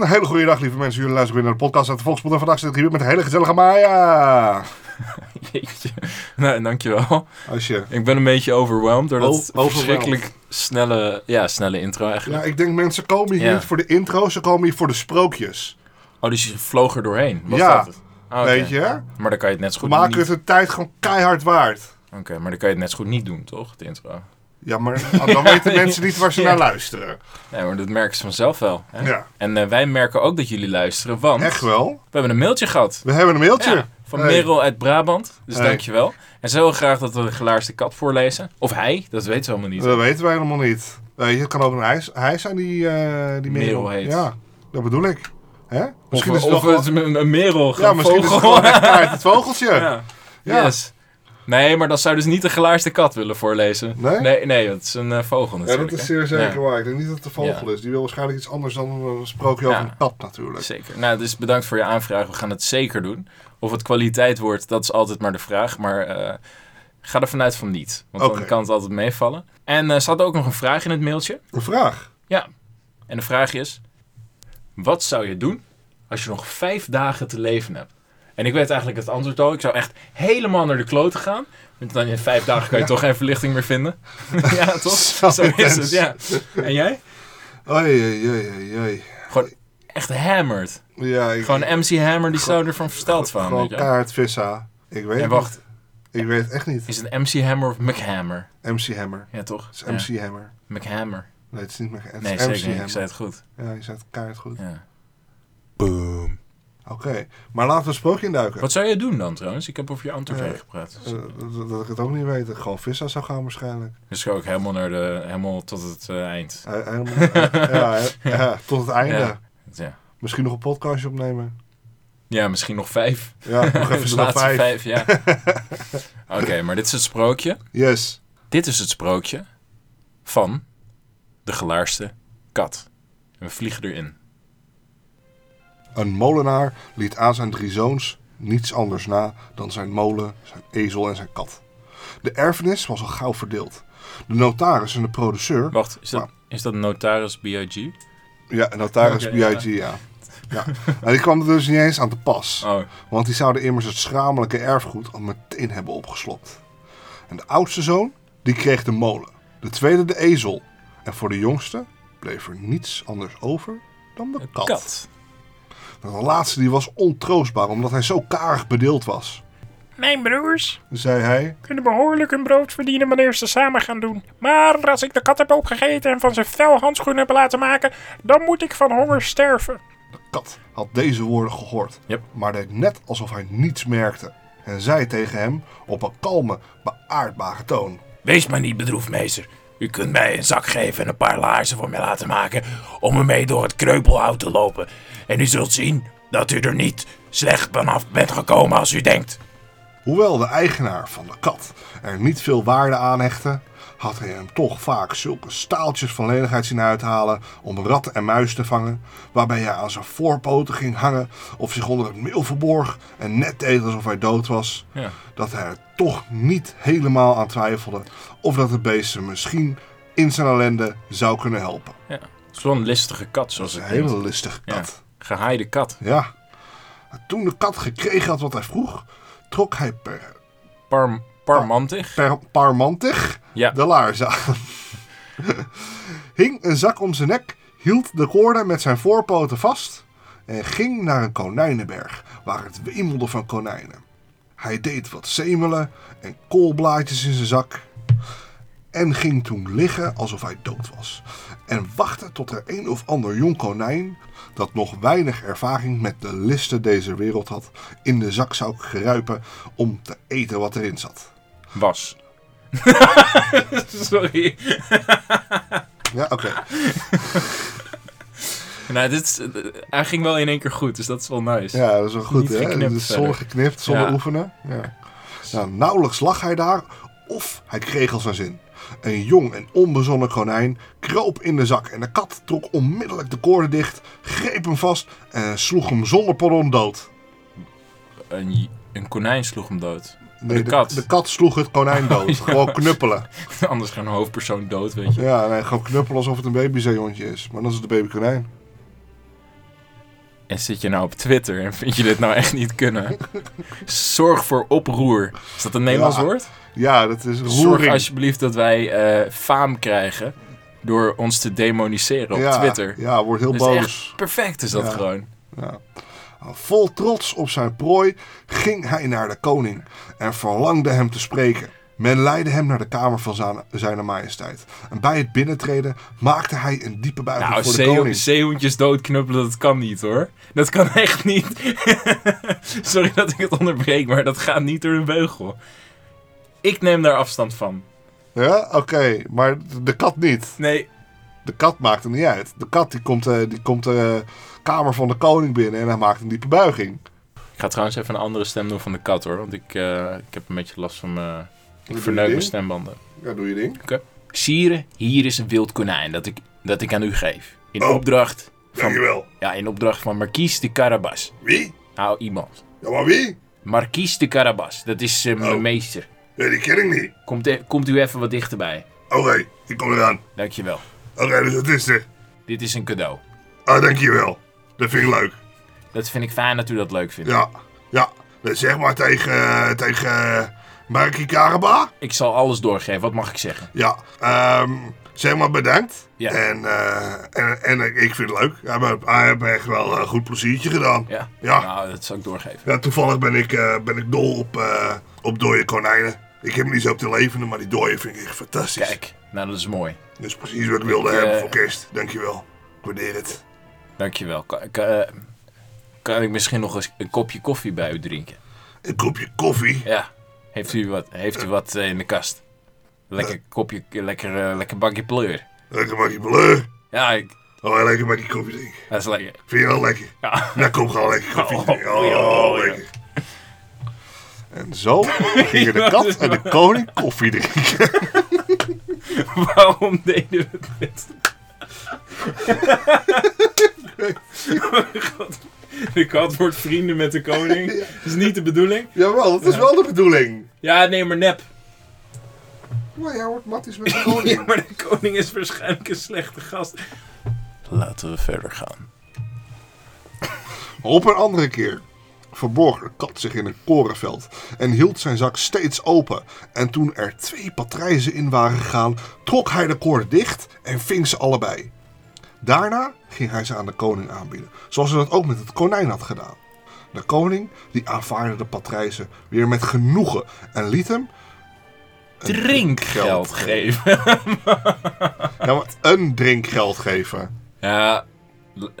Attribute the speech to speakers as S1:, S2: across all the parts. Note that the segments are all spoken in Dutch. S1: Een hele goede dag, lieve mensen. Jullie luisteren weer naar de podcast uit de Volksmond. En vandaag zit ik hier met de hele gezellige Maya.
S2: Jeetje. Nou, dankjewel.
S1: Als je...
S2: Ik ben een beetje overwhelmed door dat
S1: O- Oh, overwhelmed.
S2: verschrikkelijk snelle, ja, snelle intro eigenlijk.
S1: Ja, ik denk mensen komen hier
S2: Ja.
S1: niet voor de intro, ze komen hier voor de sprookjes.
S2: Oh, dus je vloog er doorheen. Was
S1: Ja.
S2: dat het? Ah, oké.
S1: Weet je, hè?
S2: Maar dan kan je het net zo
S1: We
S2: goed
S1: maken
S2: niet...
S1: het de tijd gewoon keihard waard.
S2: Oké, maar dan kan je het net zo goed niet doen, toch? De intro.
S1: Ja, maar dan weten mensen niet waar ze
S2: Ja.
S1: naar luisteren.
S2: Nee, maar dat merken ze vanzelf wel. Hè?
S1: Ja.
S2: En eh, wij merken ook dat jullie luisteren, want
S1: Echt wel.
S2: we hebben een mailtje gehad.
S1: We hebben een mailtje.
S2: Ja, van
S1: Hey.
S2: Merel uit Brabant. Dus
S1: Hey.
S2: dankjewel. En ze wil graag dat we de gelaarste kat voorlezen. Of hij, dat weten ze allemaal niet.
S1: Dat weten wij helemaal niet. Weet je, het kan ook een hij, hij zijn die, eh die
S2: Merel heet.
S1: Ja, dat bedoel ik. Hè?
S2: of
S1: Misschien is het
S2: of
S1: wel
S2: het is een, een Merel,
S1: Ja,
S2: gewoon
S1: misschien is het
S2: vogel.
S1: gewoon echt kaart, het vogeltje. Ja.
S2: Ja. Yes. Nee, maar dan zou je dus niet de gelaarste kat willen voorlezen.
S1: Nee?
S2: Nee, nee, dat is een eh, vogel
S1: Ja,
S2: natuurlijk.
S1: dat is
S2: hè?
S1: zeer zeker
S2: Ja,
S1: waar. Ik denk niet dat het de vogel
S2: Ja.
S1: is. Die wil waarschijnlijk iets anders dan een sprookje over
S2: Ja.
S1: een kat natuurlijk.
S2: Zeker. Nou, dus bedankt voor je aanvraag. We gaan het zeker doen. Of het kwaliteit wordt, dat is altijd maar de vraag. Maar eh, ga er vanuit van niet. Want
S1: Oké.
S2: dan kan het altijd meevallen. En eh ze had ook nog een vraag in het mailtje.
S1: Een vraag.
S2: Ja. En de vraag is... Wat zou je doen als je nog vijf dagen te leven hebt? En ik weet eigenlijk het antwoord al. Ik zou echt helemaal naar de klote gaan. Want dan in vijf dagen kan je toch geen verlichting meer vinden. ja, toch?
S1: Zo
S2: Zo, is het,
S1: intens.
S2: ja. En jij?
S1: Oei, oei, oei, oei, oei.
S2: Gewoon echt hammered.
S1: Ja, ik,
S2: Gewoon MC Hammer, die zou er van versteld van.
S1: gewoon
S2: Weet je wel.
S1: kaart vissa. Ik weet
S2: En
S1: het
S2: wacht,
S1: niet. Ik weet het echt niet.
S2: is het MC Hammer of McHammer?
S1: MC Hammer.
S2: Ja, toch?
S1: Het is
S2: Ja,
S1: MC Hammer.
S2: McHammer.
S1: Nee, het is niet meer. Het
S2: Nee,
S1: is MC
S2: zeker niet. Ik
S1: Hammer.
S2: zei het goed.
S1: Ja, je zei het kaart goed.
S2: Ja.
S1: Oké, maar laten we een sprookje induiken.
S2: Wat zou je doen dan trouwens? Ik heb over je antwoord
S1: Eh,
S2: heen gepraat.
S1: Eh, dat, dat ik het ook niet weet. Gewoon vissa zou gaan waarschijnlijk.
S2: Dus ook helemaal, naar de, helemaal tot het eh, eind.
S1: Eh, helemaal- eh, ja, eh, ja, tot het einde.
S2: Ja. Ja.
S1: Misschien nog een podcastje opnemen.
S2: ja, misschien nog vijf.
S1: Ja, nog
S2: De
S1: even de top
S2: laatste
S1: vijf.
S2: ja. Oké, maar dit is het sprookje.
S1: Yes.
S2: Dit is het sprookje van de gelaarste kat. En we vliegen erin.
S1: Een molenaar liet aan zijn drie zoons niets anders na dan zijn molen, zijn ezel en zijn kat. De erfenis was al gauw verdeeld. De notaris en de produceur.
S2: Wacht, is dat, is dat notaris B.I.G.?
S1: Ja, de notaris
S2: Oké,
S1: B.I.G. Ja. Ja. En die kwam er dus niet eens aan te pas.
S2: Oh,
S1: Want die zouden immers het schamelijke erfgoed al meteen hebben opgeslokt. En de oudste zoon, die kreeg de molen. De tweede de ezel. En voor de jongste bleef er niets anders over dan de
S2: een
S1: kat.
S2: kat.
S1: De laatste die was ontroostbaar omdat hij zo karig bedeeld was.
S3: Mijn broers
S1: zei hij.
S3: kunnen behoorlijk hun brood verdienen wanneer ze samen gaan doen. Maar als ik de kat heb opgegeten en van zijn fel handschoenen heb laten maken, dan moet ik van honger sterven.
S1: De kat had deze woorden gehoord,
S2: Yep.
S1: maar deed net alsof hij niets merkte. En zei tegen hem op een kalme, beaardbare toon.
S2: Wees maar niet bedroefd, meester. U kunt mij een zak geven en een paar laarzen voor mij laten maken om me mee door het kreupelhout te lopen. En u zult zien dat u er niet slecht vanaf bent gekomen als u denkt.
S1: Hoewel de eigenaar van de kat er niet veel waarde aan hechtte, had hij hem toch vaak zulke staaltjes van lenigheid zien uithalen om rat en muis te vangen, waarbij hij aan zijn voorpoten ging hangen of zich onder het meel verborg en net deed alsof hij dood was,
S2: Ja.
S1: dat hij er toch niet helemaal aan twijfelde of dat het beest hem misschien in zijn ellende zou kunnen helpen.
S2: Ja. Het is wel een listige kat, zoals
S1: Een
S2: het
S1: hele listige kat.
S2: Gehaaide kat.
S1: Ja. En Toen de kat gekregen had wat hij vroeg, trok hij per,
S2: Par parmantig.
S1: per, parmantig
S2: Ja.
S1: de laars aan. Hing een zak om zijn nek, hield de koorden met zijn voorpoten vast en ging naar een konijnenberg waar het wemelde van konijnen. Hij deed wat zemelen en koolblaadjes in zijn zak en ging toen liggen alsof hij dood was en wachtte tot er een of ander jong konijn dat nog weinig ervaring met de listen deze wereld had in de zak zou geruipen om te eten wat erin zat.
S2: Was. Sorry.
S1: Ja, oké.
S2: Nou, dit is, hij ging wel in één keer goed, dus dat is wel nice.
S1: Ja, dat is wel goed,
S2: Niet
S1: hè?
S2: geknipt
S1: Dus zonder
S2: verder.
S1: geknipt, zonder
S2: Ja.
S1: oefenen. Ja. Nou, nauwelijks lag hij daar, of hij kreeg al zijn zin. Een jong en onbezonnen konijn kroop in de zak en de kat trok onmiddellijk de koorden dicht, greep hem vast en sloeg hem zonder pardon dood.
S2: Een, een konijn sloeg hem dood.
S1: Nee,
S2: De kat.
S1: De kat sloeg het konijn dood. Gewoon knuppelen.
S2: Anders gaat een hoofdpersoon dood, weet je.
S1: Ja, nee, gewoon knuppelen alsof het een babyzeehondje is. Maar dat is het babykonijn.
S2: En zit je nou op Twitter en vind je dit nou echt niet kunnen? Zorg voor oproer. Is dat een Nederlands
S1: Ja,
S2: woord?
S1: Ja, dat is
S2: Zorg
S1: roering.
S2: alsjeblieft dat wij eh faam krijgen door ons te demoniseren op
S1: ja,
S2: Twitter.
S1: Ja, wordt heel
S2: Dus
S1: boos.
S2: echt perfect is dat
S1: Ja.
S2: gewoon.
S1: Vol trots op zijn prooi ging hij naar de koning en verlangde hem te spreken. Men leidde hem naar de kamer van zijn, zijn majesteit. En bij het binnentreden maakte hij een diepe buiging
S2: Nou,
S1: voor de
S2: zeeho-
S1: koning.
S2: zeehoentjes doodknuppelen, dat kan niet hoor. Dat kan echt niet. Sorry dat ik het onderbreek, maar dat gaat niet door de beugel. Ik neem daar afstand van.
S1: Ja, oké, maar de kat niet.
S2: Nee,
S1: De kat maakt hem niet uit. De kat die komt, eh, die komt de kamer van de koning binnen en hij maakt een diepe buiging.
S2: ik ga trouwens even een andere stem doen van de kat hoor. Want ik, eh, ik heb een beetje last van mijn... Ik
S1: je
S2: verneuk mijn
S1: ding.
S2: stembanden.
S1: Ja, doe je ding.
S2: Sire, hier is een wild konijn dat ik, dat ik aan u geef. In
S1: Oh.
S2: opdracht...
S1: Dankjewel.
S2: Ja, in opdracht van Marquise de Carabas.
S1: Wie?
S2: Nou, iemand.
S1: Ja, maar wie?
S2: Marquise de Carabas, dat is eh, mijn
S1: Oh.
S2: meester.
S1: Nee, die ken ik niet.
S2: Komt, e- komt u even wat dichterbij.
S1: Oké, ik kom eraan.
S2: Dankjewel.
S1: Oké, dus het is er.
S2: Dit is een cadeau.
S1: Ah, dankjewel. Dat vind ik leuk.
S2: Dat vind ik fijn dat u dat leuk vindt.
S1: Ja, ja. Dat zeg maar tegen, eh, tegen eh, Markie Karaba.
S2: Ik zal alles doorgeven, wat mag ik zeggen?
S1: Ja, ehm, zeg maar bedankt.
S2: Ja.
S1: En, eh, en, en ik- ik vind het leuk. Hij heeft- Hij heeft echt wel een goed pleziertje gedaan.
S2: Ja?
S1: Ja.
S2: Nou, dat zal ik doorgeven.
S1: Ja, toevallig ben ik, eh, ben ik dol op, eh, op dode konijnen. Ik heb hem niet zo op de levende, maar die dode vind ik echt fantastisch.
S2: Kijk, nou dat is mooi.
S1: Dat is precies wat ik wilde
S2: Ik,
S1: hebben
S2: eh,
S1: voor kerst. Dankjewel. Ik waardeer het.
S2: Dankjewel. Kan, kan, eh, kan ik misschien nog eens een kopje koffie bij u drinken?
S1: Een kopje koffie.
S2: Ja. Heeft u wat, heeft u wat eh, in de kast? Lekker kopje, lekker, eh, lekker bakje pleur.
S1: Lekker bakje bleu.
S2: Ja, ik,
S1: Oh, lekker bakje koffie drinken.
S2: dat is lekker.
S1: Vind je wel lekker?
S2: Ja.
S1: Nou, kom gewoon lekker koffie
S2: Oh,
S1: drinken.
S2: oh,
S1: Oh,
S2: ja, oh, ja.
S1: lekker. En zo gingen de kat en de koning koffie drinken.
S2: Waarom deden we dit? God. De kat wordt vrienden met de koning. Dat is niet de bedoeling.
S1: Jawel, dat is wel de bedoeling.
S2: Ja, nee, maar nep.
S1: Maar jij wordt matties met de
S2: Oh, Ja,
S1: koning.
S2: maar de koning is waarschijnlijk een slechte gast. Laten we verder gaan.
S1: Op een andere keer verborg de kat zich in een korenveld en hield zijn zak steeds open. En toen er twee patrijzen in waren gegaan, trok hij de koorden dicht en ving ze allebei. Daarna ging hij ze aan de koning aanbieden, zoals hij dat ook met het konijn had gedaan. De koning die aanvaarde de patrijzen weer met genoegen en liet hem
S2: Drinkgeld geven.
S1: ja, maar een drinkgeld geven.
S2: Ja,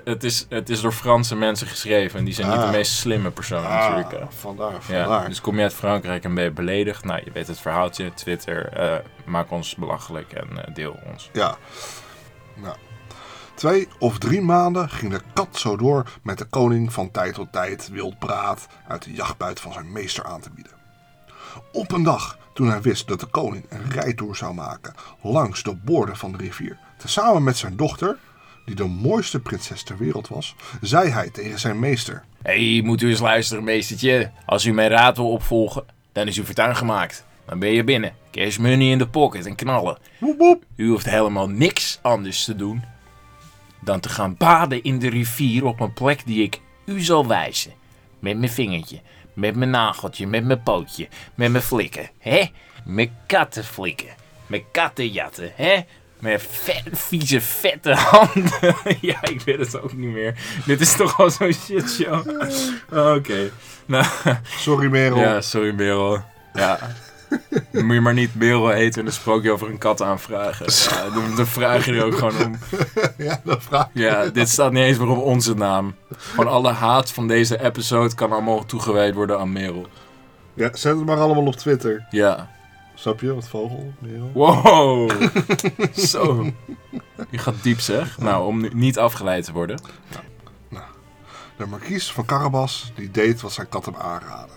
S2: het is, het is door Franse mensen geschreven. En die zijn niet
S1: Ah.
S2: de meest slimme personen natuurlijk. hè.
S1: Ah, vandaar,
S2: Ja,
S1: vandaar.
S2: dus kom je uit Frankrijk en ben je beledigd? Nou, je weet het verhaaltje. Twitter, eh, maak ons belachelijk en eh, deel ons.
S1: Ja. Nou. Twee of drie maanden ging de kat zo door met de koning van tijd tot tijd wild braad uit de jachtbuit van zijn meester aan te bieden. Op een dag, toen hij wist dat de koning een rijtoer zou maken langs de boorden van de rivier, tezamen met zijn dochter, die de mooiste prinses ter wereld was, zei hij tegen zijn meester:
S2: Hé, hey, moet u eens luisteren, meestertje. Als u mijn raad wil opvolgen, dan is uw fortuin gemaakt. Dan ben je binnen. Cash money in de pocket en knallen.
S1: Woep woep,
S2: U hoeft helemaal niks anders te doen dan te gaan baden in de rivier op een plek die ik u zal wijzen. Met mijn vingertje, met mijn nageltje, met mijn pootje, met mijn flikken, hè? Met katten flikken, met kattenjatten, hè? Met vet, vieze, vette handen. ja, ik weet het ook niet meer. Dit is toch al zo'n shitshow. Oké. Nou,
S1: sorry Merel.
S2: ja, sorry Merel. Ja. Dan moet je maar niet Merel eten en een sprookje over een kat aanvragen. Ja, dan, dan vraag je er ook gewoon om.
S1: Ja, dat vraag ik.
S2: Ja, dit staat niet eens meer op onze naam. Gewoon alle haat van deze episode kan allemaal toegewijd worden aan Merel.
S1: Ja, zet het maar allemaal op Twitter.
S2: Ja.
S1: Snap je, wat vogel, Merel?
S2: Wow. Zo. Je gaat diep zeg. Nou, om nu niet afgeleid te worden.
S1: De markies van Carabas die deed wat zijn kat hem aanraadde.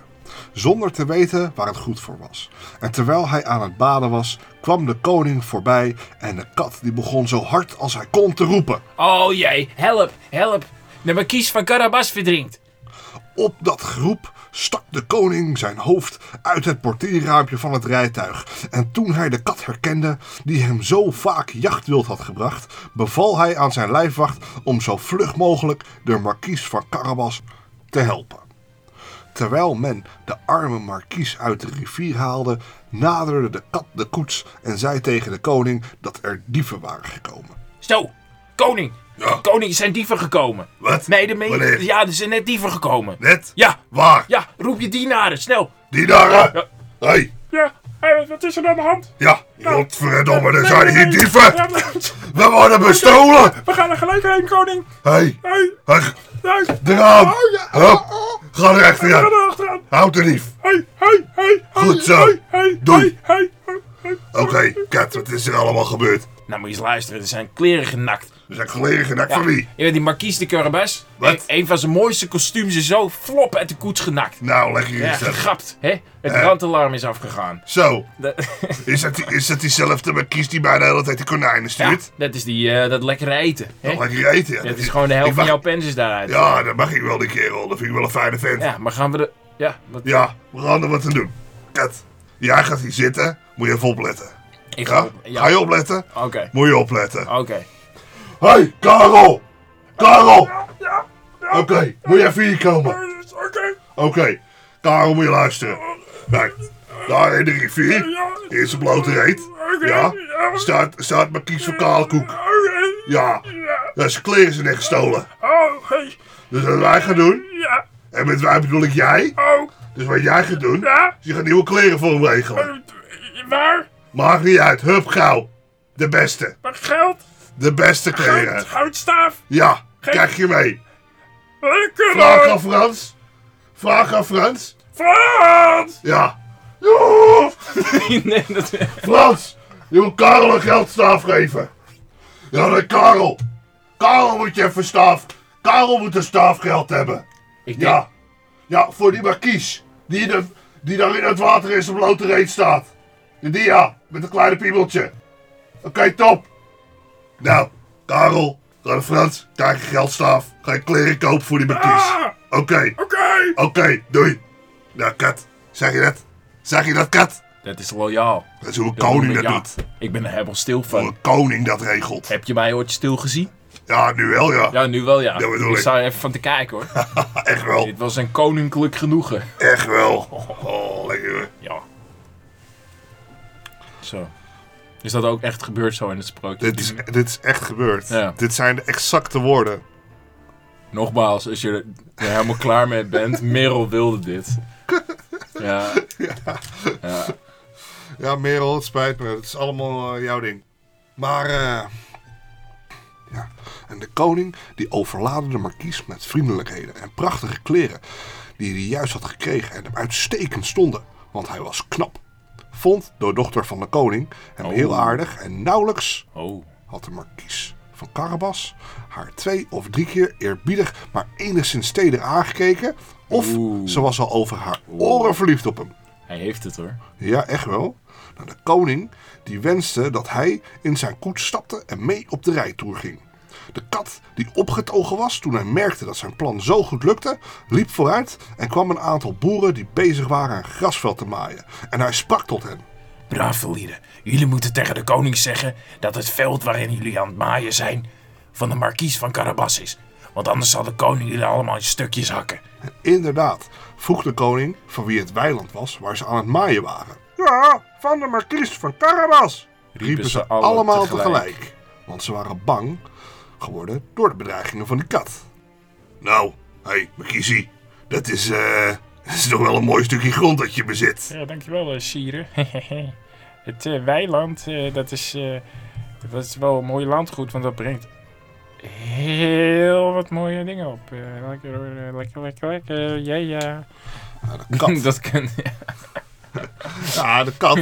S1: Zonder te weten waar het goed voor was. En terwijl hij aan het baden was, kwam de koning voorbij en de kat die begon zo hard als hij kon te roepen.
S2: Oh jee, help, help. De markies van Carabas verdrinkt.
S1: Op dat groep stak de koning zijn hoofd uit het portierraampje van het rijtuig. En toen hij de kat herkende, die hem zo vaak jachtwild had gebracht, beval hij aan zijn lijfwacht om zo vlug mogelijk de markies van Carabas te helpen. Terwijl men de arme markies uit de rivier haalde, naderde de kat de koets en zei tegen de koning dat er dieven waren gekomen.
S2: Zo, koning.
S1: Ja.
S2: Koning, er zijn dieven gekomen.
S1: Wat?
S2: Nee, de me-
S1: Wanneer?
S2: ja, er zijn net dieven gekomen.
S1: Net?
S2: Ja,
S1: Waar?
S2: ja, roep je dienaren, snel.
S1: Die daar?
S2: Ja.
S1: Hé, hey,
S3: Ja, eh, wat is er aan de hand?
S1: ja, godverdomme, er
S3: Nou, Nee,
S1: zijn
S3: nee,
S1: hier
S3: nee. Ja,
S1: dieven!
S3: we-
S1: We worden bestolen!
S3: We gaan er gelijk heen, koning.
S1: Hé, hey,
S3: Hey,
S1: hey,
S3: hey.
S1: eraan!
S3: Oh, ja.
S1: Hup, ga er echt
S3: We gaan
S1: in!
S3: er achteraan.
S1: Houd de dief!
S3: Hey, hey, hey. hey,
S1: Goed zo.
S3: Hey, hey,
S1: Doei.
S3: hey, hey, hey, hey.
S1: Oké, Kat, wat is er allemaal gebeurd?
S2: Nou, moet je eens luisteren, er zijn kleren genakt.
S1: Er zijn kleren genakt van wie?
S2: Je weet die marquise de Carabas.
S1: Wat?
S2: Een, een van zijn mooiste kostuums is zo flop uit de koets genakt.
S1: Nou, leg hier
S2: Ja,
S1: eens uit.
S2: gegrapt, hè? Het brandalarm is afgegaan.
S1: Zo,
S2: De-
S1: is dat, die, is dat diezelfde markies die mij de hele tijd de konijnen
S2: ja,
S1: stuurt?
S2: dat is die, eh, dat lekkere eten. Hè?
S1: Ja. Lekker eten. ja.
S2: Het is gewoon de helft
S1: Ik
S2: van
S1: mag-
S2: jouw pens is daaruit.
S1: Ja, dat mag ik wel, die kerel. Dat vind ik wel een fijne vent. Ja,
S2: Ja, maar gaan we de... Ja, wat...
S1: we gaan er wat aan doen. Kat, jij gaat hier zitten. Moet je even opletten.
S2: Ik
S1: Ja?
S2: ja.
S1: Ga je opletten?
S2: Oké,
S1: Moet je opletten.
S2: oké.
S1: Hé, hey, Karel! Karel!
S3: Ja,
S1: Oké, moet je even hier komen?
S3: eh, oké.
S1: Oké, Karel moet je luisteren. Kijk, daar in de rivier,
S3: Ja,
S1: in zijn blote reet,
S3: oké.
S1: ja, staat, staat Markies van Kaalkoek.
S3: Oké.
S1: Ja,
S3: Ja.
S1: ja, zijn kleren zijn echt gestolen.
S3: Oh, hey.
S1: Dus wat wij gaan doen,
S3: Ja.
S1: en met wij bedoel ik jij,
S3: Oh.
S1: dus wat jij gaat doen,
S3: Ja.
S1: is je gaat nieuwe kleren voor hem regelen.
S3: eh, Waar?
S1: Maakt niet uit, hup gauw. De beste,
S3: Maar geld?
S1: de beste
S3: Goud,
S1: kleren.
S3: goudstaaf?
S1: Ja, krijg je mee.
S3: Lekker
S1: Vraag
S3: hoor.
S1: aan Frans. Vraag aan Frans.
S3: Frans!
S1: Ja. Ja.
S2: nee, dat...
S1: Frans, je moet Karel een geldstaaf geven. Ja, nee, Karel. Karel moet je even staaf. Karel moet een staafgeld hebben.
S2: Ik denk...
S1: Ja. Ja, voor die markies. Die, de, die daar in het water in zijn blote reet staat. Die ja, met een kleine piebeltje. Oké, top. Nou, Karel, ga naar Frans, krijg je geldstaaf. Ga je kleren kopen voor die markies.
S3: Ah,
S1: Oké,
S3: Oké.
S1: oké, doei. Nou, Kat, zeg je dat? Zeg je dat, Kat?
S2: Dat is loyaal.
S1: Dat is hoe een koning dat
S2: Ja,
S1: doet.
S2: Ik ben er helemaal stil van.
S1: Hoe een koning dat regelt.
S2: Heb je mij ooit stil gezien?
S1: Ja, nu wel, ja.
S2: Ja, nu wel ja.
S1: Dat bedoel
S2: ik
S1: ik.
S2: sta er even van te kijken hoor.
S1: Echt wel.
S2: Dit was een koninklijk genoegen.
S1: Echt wel. Oh, lekker. hoor.
S2: Ja. Zo. Is dat ook echt gebeurd zo in het sprookje?
S1: Dit is, dit is echt gebeurd.
S2: Ja.
S1: Dit zijn de exacte woorden.
S2: Nogmaals, als je er helemaal klaar mee bent, Merel wilde dit. Ja. ja.
S1: Ja, Merel, het spijt me. Het is allemaal eh, jouw ding. Maar, eh... Ja. En de koning, die overlaadde de markies met vriendelijkheden en prachtige kleren... die hij juist had gekregen en hem uitstekend stonden. Want hij was knap. Vond door dochter van de koning hem
S2: Oh.
S1: heel aardig en nauwelijks
S2: Oh.
S1: had de markies van Carabas haar twee of drie keer eerbiedig, maar enigszins teder aangekeken. Of
S2: Oeh.
S1: ze was al over haar oren verliefd op hem.
S2: Hij heeft het hoor.
S1: Ja, echt wel. Nou, de koning die wenste dat hij in zijn koets stapte en mee op de rijtoer ging. De kat, die opgetogen was toen hij merkte dat zijn plan zo goed lukte, liep vooruit en kwam een aantal boeren die bezig waren een grasveld te maaien. En hij sprak tot hen.
S2: Brave lieden, jullie moeten tegen de koning zeggen dat het veld waarin jullie aan het maaien zijn van de markies van Carabas is. Want anders zal de koning jullie allemaal in stukjes hakken.
S1: Inderdaad, vroeg de koning van wie het weiland was waar ze aan het maaien waren. Ja, van de markies van Carabas, riepen, ze
S2: alle
S1: allemaal tegelijk.
S2: tegelijk.
S1: Want ze waren bang geworden door de bedreigingen van de kat. Nou, hé, hey, markiesie, dat is, eh, dat is toch wel een mooi stukje grond dat je bezit.
S3: Ja, dankjewel, eh, Sire. het eh, weiland, eh, dat, is, eh, dat is wel een mooi landgoed, want dat brengt heel wat mooie dingen op. Eh, lekker hoor, eh, lekker, lekker, lekker. Ja, ja.
S1: Ja, de kat,
S2: dat kan.
S1: ja, de kat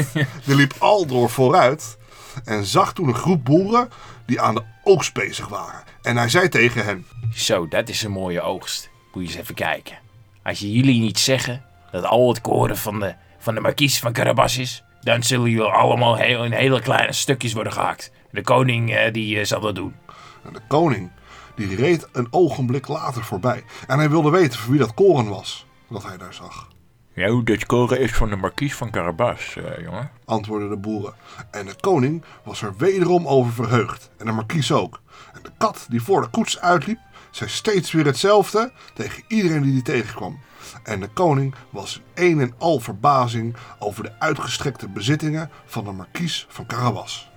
S1: die liep al door vooruit en zag toen een groep boeren die aan de oogst bezig waren. En hij zei tegen hen,
S2: Zo, dat is een mooie oogst. Moet je eens even kijken. Als je jullie niet zeggen dat al het koren van de, van de markies van Carabas is, dan zullen jullie allemaal heel, in hele kleine stukjes worden gehakt. De koning eh, die eh, zal dat doen.
S1: En de koning, die reed een ogenblik later voorbij. En hij wilde weten voor wie dat koren was. wat hij daar zag,
S2: Ja, dit koren is van de markies van Carabas, eh, jongen.
S1: antwoordden de boeren. En de koning was er wederom over verheugd, en de markies ook. En de kat die voor de koets uitliep, zei steeds weer hetzelfde tegen iedereen die die tegenkwam. En de koning was in een en al verbazing over de uitgestrekte bezittingen van de markies van Carabas.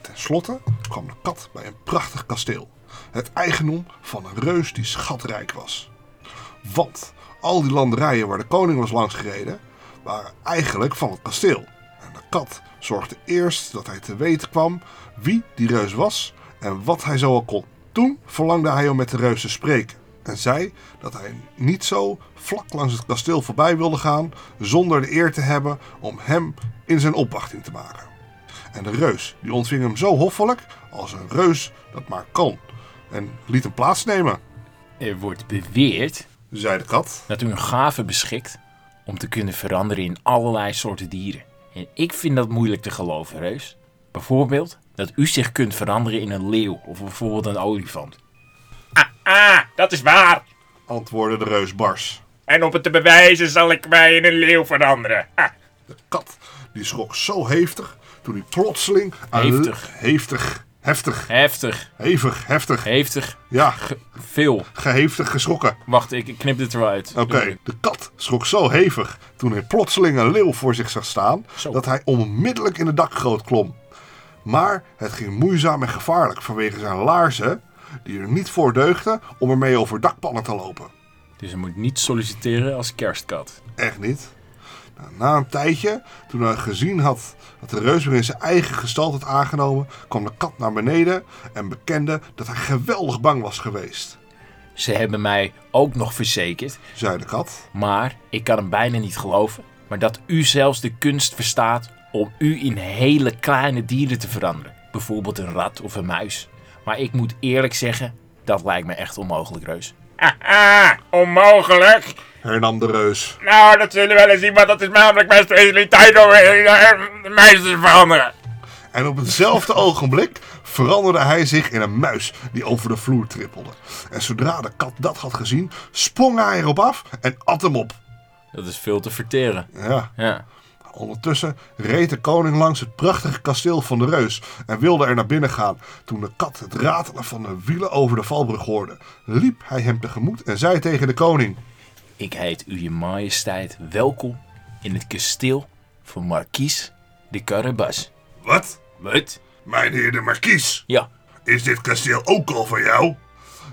S1: Ten slotte kwam de kat bij een prachtig kasteel, het eigendom van een reus die schatrijk was. Want al die landerijen waar de koning was langsgereden, waren eigenlijk van het kasteel. En de kat zorgde eerst dat hij te weten kwam wie die reus was en wat hij zo al kon. Toen verlangde hij om met de reus te spreken en zei dat hij niet zo vlak langs het kasteel voorbij wilde gaan zonder de eer te hebben om hem in zijn opwachting te maken. En de reus die ontving hem zo hoffelijk als een reus dat maar kan en liet hem plaatsnemen,
S2: Er wordt beweerd
S1: zei de kat.
S2: dat u een gave beschikt om te kunnen veranderen in allerlei soorten dieren. En ik vind dat moeilijk te geloven, Reus. Bijvoorbeeld dat u zich kunt veranderen in een leeuw of bijvoorbeeld een olifant.
S3: Ah, ah, dat is waar.
S1: Antwoordde de reus bars.
S3: En om het te bewijzen zal ik mij in een leeuw veranderen. Ah, Ha.
S1: De kat die schrok zo heftig toen hij plotseling... uit-
S2: Heftig.
S1: Heftig. Heftig.
S2: Heftig,
S1: Hevig. Heftig.
S2: heftig,
S1: Ja,
S2: veel.
S1: geheftig geschrokken.
S2: Wacht, ik ik knip dit er wel uit.
S1: Oké, de kat schrok zo hevig toen hij plotseling een leeuw voor zich zag staan...
S2: Zo.
S1: dat hij onmiddellijk in de dakgoot klom. Maar het ging moeizaam en gevaarlijk vanwege zijn laarzen... die er niet voor deugden om ermee over dakpannen te lopen.
S2: Dus je moet niet solliciteren als kerstkat.
S1: Echt niet. Nou, na een tijdje, toen hij gezien had dat de reus weer in zijn eigen gestalte had aangenomen, kwam de kat naar beneden en bekende dat hij geweldig bang was geweest,
S2: Ze hebben mij ook nog verzekerd,
S1: zei de kat.
S2: maar ik kan hem bijna niet geloven, maar dat u zelfs de kunst verstaat om u in hele kleine dieren te veranderen. Bijvoorbeeld een rat of een muis. Maar ik moet eerlijk zeggen, dat lijkt me echt onmogelijk, Reus.
S3: Ah, ah, onmogelijk.
S1: Hernam de reus.
S3: Nou, dat zullen we wel eens zien, want dat is namelijk mijn specialiteit om eh, meisjes te veranderen.
S1: En op hetzelfde ogenblik veranderde hij zich in een muis die over de vloer trippelde. En zodra de kat dat had gezien, sprong hij erop af en at hem op.
S2: Dat is veel te verteren.
S1: Ja,
S2: Ja.
S1: Ondertussen reed de koning langs het prachtige kasteel van de reus en wilde er naar binnen gaan. Toen de kat het ratelen van de wielen over de valbrug hoorde, liep hij hem tegemoet en zei tegen de koning:
S2: Ik heet uw majesteit welkom in het kasteel van Marquise de Carabas.
S1: Wat?
S2: Wat?
S1: Mijn heer de markies,
S2: Ja,
S1: is dit kasteel ook al van jou?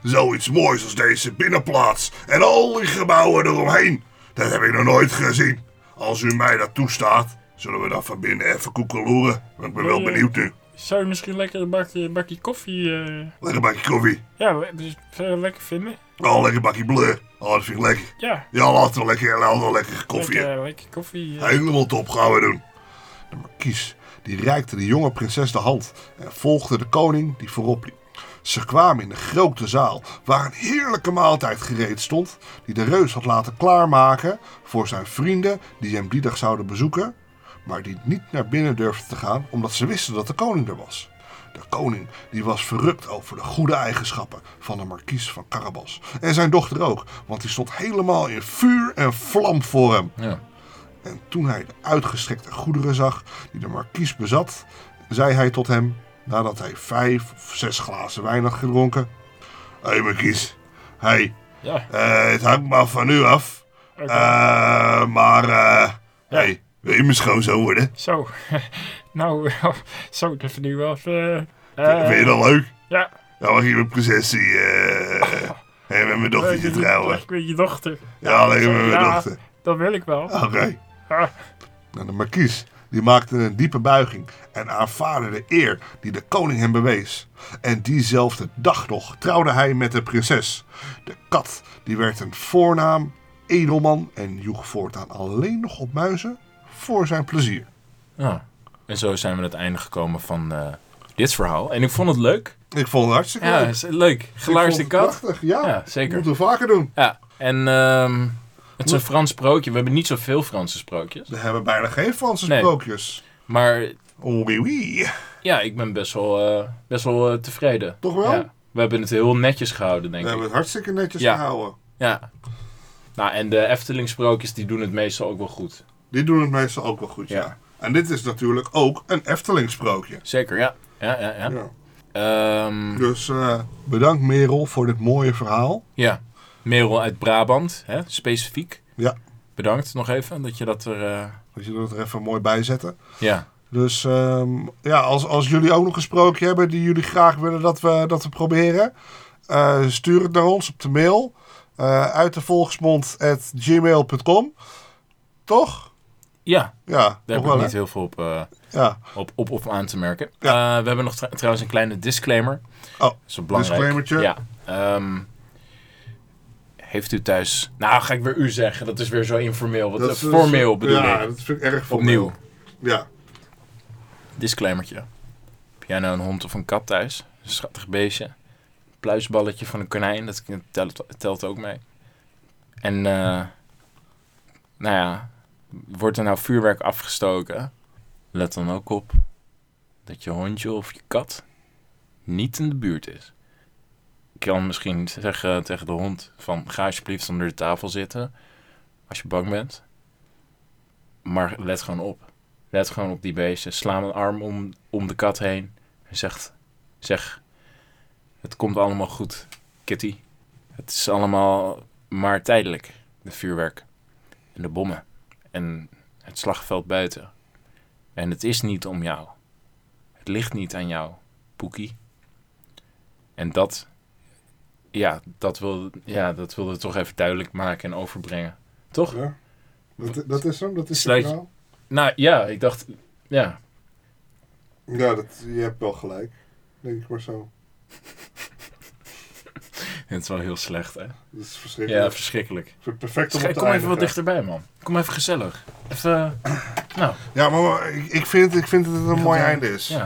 S1: Zoiets moois als deze binnenplaats en al die gebouwen eromheen, dat heb ik nog nooit gezien. Als u mij dat toestaat, zullen we dan van binnen even koekeloeren, want ik ben wel benieuwd nu.
S3: Zou je misschien lekker een bakje, bakje koffie... eh,
S1: Lekker bakje koffie,
S3: ja, le- dus, zou je dat lekker vinden?
S1: oh lekker bakje bleu, oh dat vind ik lekker.
S3: Ja,
S1: Ja, laten we lekker, laten we lekker koffie.
S3: lekker, lekker koffie. eh.
S1: Helemaal top gaan we doen. De markies die reikte de jonge prinses de hand en volgde de koning die voorop liep. Ze kwamen in de grote zaal waar een heerlijke maaltijd gereed stond die de reus had laten klaarmaken voor zijn vrienden die hem die dag zouden bezoeken, maar die niet naar binnen durfden te gaan omdat ze wisten dat de koning er was. De koning die was verrukt over de goede eigenschappen van de markies van Carabas en zijn dochter ook, want die stond helemaal in vuur en vlam voor hem.
S2: ja.
S1: En toen hij de uitgestrekte goederen zag die de markies bezat, zei hij tot hem, nadat hij vijf of zes glazen wijn had gedronken: Hé markies, hé,
S3: Ja,
S1: eh, het hangt maar van u af.
S3: oké.
S1: Eh, maar, eh, hé, wil je mijn schoonzoon worden?
S3: Zo, nou, zo, dat vind ik wel even... eh,
S1: Vind je dat leuk?
S3: ja.
S1: Dan mag je mijn prinsesie eh en met mijn dochtertje
S3: Eh,
S1: trouwen.
S3: Ik weet je dochter.
S1: Ja, lekker met mijn
S3: ja.
S1: dochter.
S3: Dat wil ik wel.
S1: Oké.
S3: Ah,
S1: Nou, de markies die maakte een diepe buiging en aanvaardde de eer die de koning hem bewees. En diezelfde dag nog trouwde hij met de prinses. De kat die werd een voornaam edelman en joeg voortaan alleen nog op muizen voor zijn plezier.
S2: Ja. En zo zijn we aan het einde gekomen van eh, dit verhaal. En ik vond het leuk.
S1: Ik vond het hartstikke
S2: Ja,
S1: leuk.
S2: is leuk.
S1: Ik vond
S2: Geluisterde
S1: het
S2: kat.
S1: Prachtig, ja.
S2: Ja, zeker.
S1: Moeten we vaker doen.
S2: Ja. En ehm, het is een Frans sprookje. We hebben niet zoveel Franse sprookjes.
S1: We hebben bijna geen Franse
S2: Nee.
S1: sprookjes.
S2: Maar
S1: Oui, oui.
S2: ja, ik ben best wel, eh, best wel eh, tevreden.
S1: Toch wel?
S2: Ja. We hebben het heel netjes gehouden,
S1: We
S2: denk
S1: hebben
S2: ik.
S1: het hartstikke netjes
S2: Ja.
S1: gehouden.
S2: Ja. Nou, en de Efteling sprookjes die doen het meestal ook wel goed.
S1: Die doen het meestal ook wel goed, ja.
S2: Ja.
S1: En dit is natuurlijk ook een Efteling sprookje.
S2: Zeker, ja. Ja, ja, ja.
S1: Ja.
S2: Ehm,
S1: Dus eh, bedankt Merel voor dit mooie verhaal.
S2: ja. Merel uit Brabant, hè, specifiek.
S1: Ja.
S2: Bedankt nog even dat je dat er... eh,
S1: Dat jullie dat er even mooi bij zetten.
S2: ja.
S1: Dus ehm, ja, als, als jullie ook nog een sprookje hebben die jullie graag willen dat we, dat we proberen, eh, stuur het naar ons op de mail. eh uit de volksmond at gmail.com. Toch?
S2: Ja,
S1: Ja,
S2: daar
S1: nog
S2: heb ik
S1: wel. hè?
S2: niet heel veel op, eh,
S1: Ja.
S2: op, op, op aan te merken.
S1: Ja.
S2: Eh, we hebben nog tr- trouwens een kleine disclaimer.
S1: Oh,
S2: Dat is wel belangrijk.
S1: disclaimertje.
S2: Ja. ehm, heeft u thuis... Nou, ga ik weer u zeggen. Dat is weer zo informeel. Wat, eh,
S1: is-
S2: formeel bedoel
S1: ja,
S2: ik.
S1: dat vind ik erg formeel.
S2: Opnieuw.
S1: Ja.
S2: Disclaimertje. Heb jij nou een hond of een kat thuis? Een schattig beestje. Pluisballetje van een konijn, dat telt, telt ook mee. En, eh, nou ja, wordt er nou vuurwerk afgestoken? Let dan ook op dat je hondje of je kat niet in de buurt is. Ik kan misschien zeggen tegen de hond van ga alsjeblieft onder de tafel zitten als je bang bent. Maar let gewoon op. Let gewoon op die beesten. Sla een arm om, om de kat heen. En zegt, zeg, het komt allemaal goed, Kitty. Het is allemaal maar tijdelijk. De vuurwerk en de bommen en het slagveld buiten. En het is niet om jou. Het ligt niet aan jou, Poekie. En dat, ja, dat wilde, ja, dat wilde ik toch even duidelijk maken en overbrengen. Toch?
S1: ja. Dat, dat is hem, dat is
S2: Sluit-
S1: het verhaal.
S2: Nou ja, ik dacht, ja,
S1: Ja, dat, je hebt wel gelijk. Denk ik maar zo.
S2: Het is wel heel slecht, hè?
S1: Dat is
S2: Ja,
S1: verschrikkelijk.
S2: verschrikkelijk.
S1: Ik vind het perfect om op
S2: Schrik-
S1: te
S2: Kom
S1: eindigen.
S2: even wat dichterbij, man. Kom even gezellig. Even, eh, nou,
S1: Ja, maar, maar ik, ik, vind, ik vind dat het een mooi
S2: Ja.
S1: einde is.
S2: ja.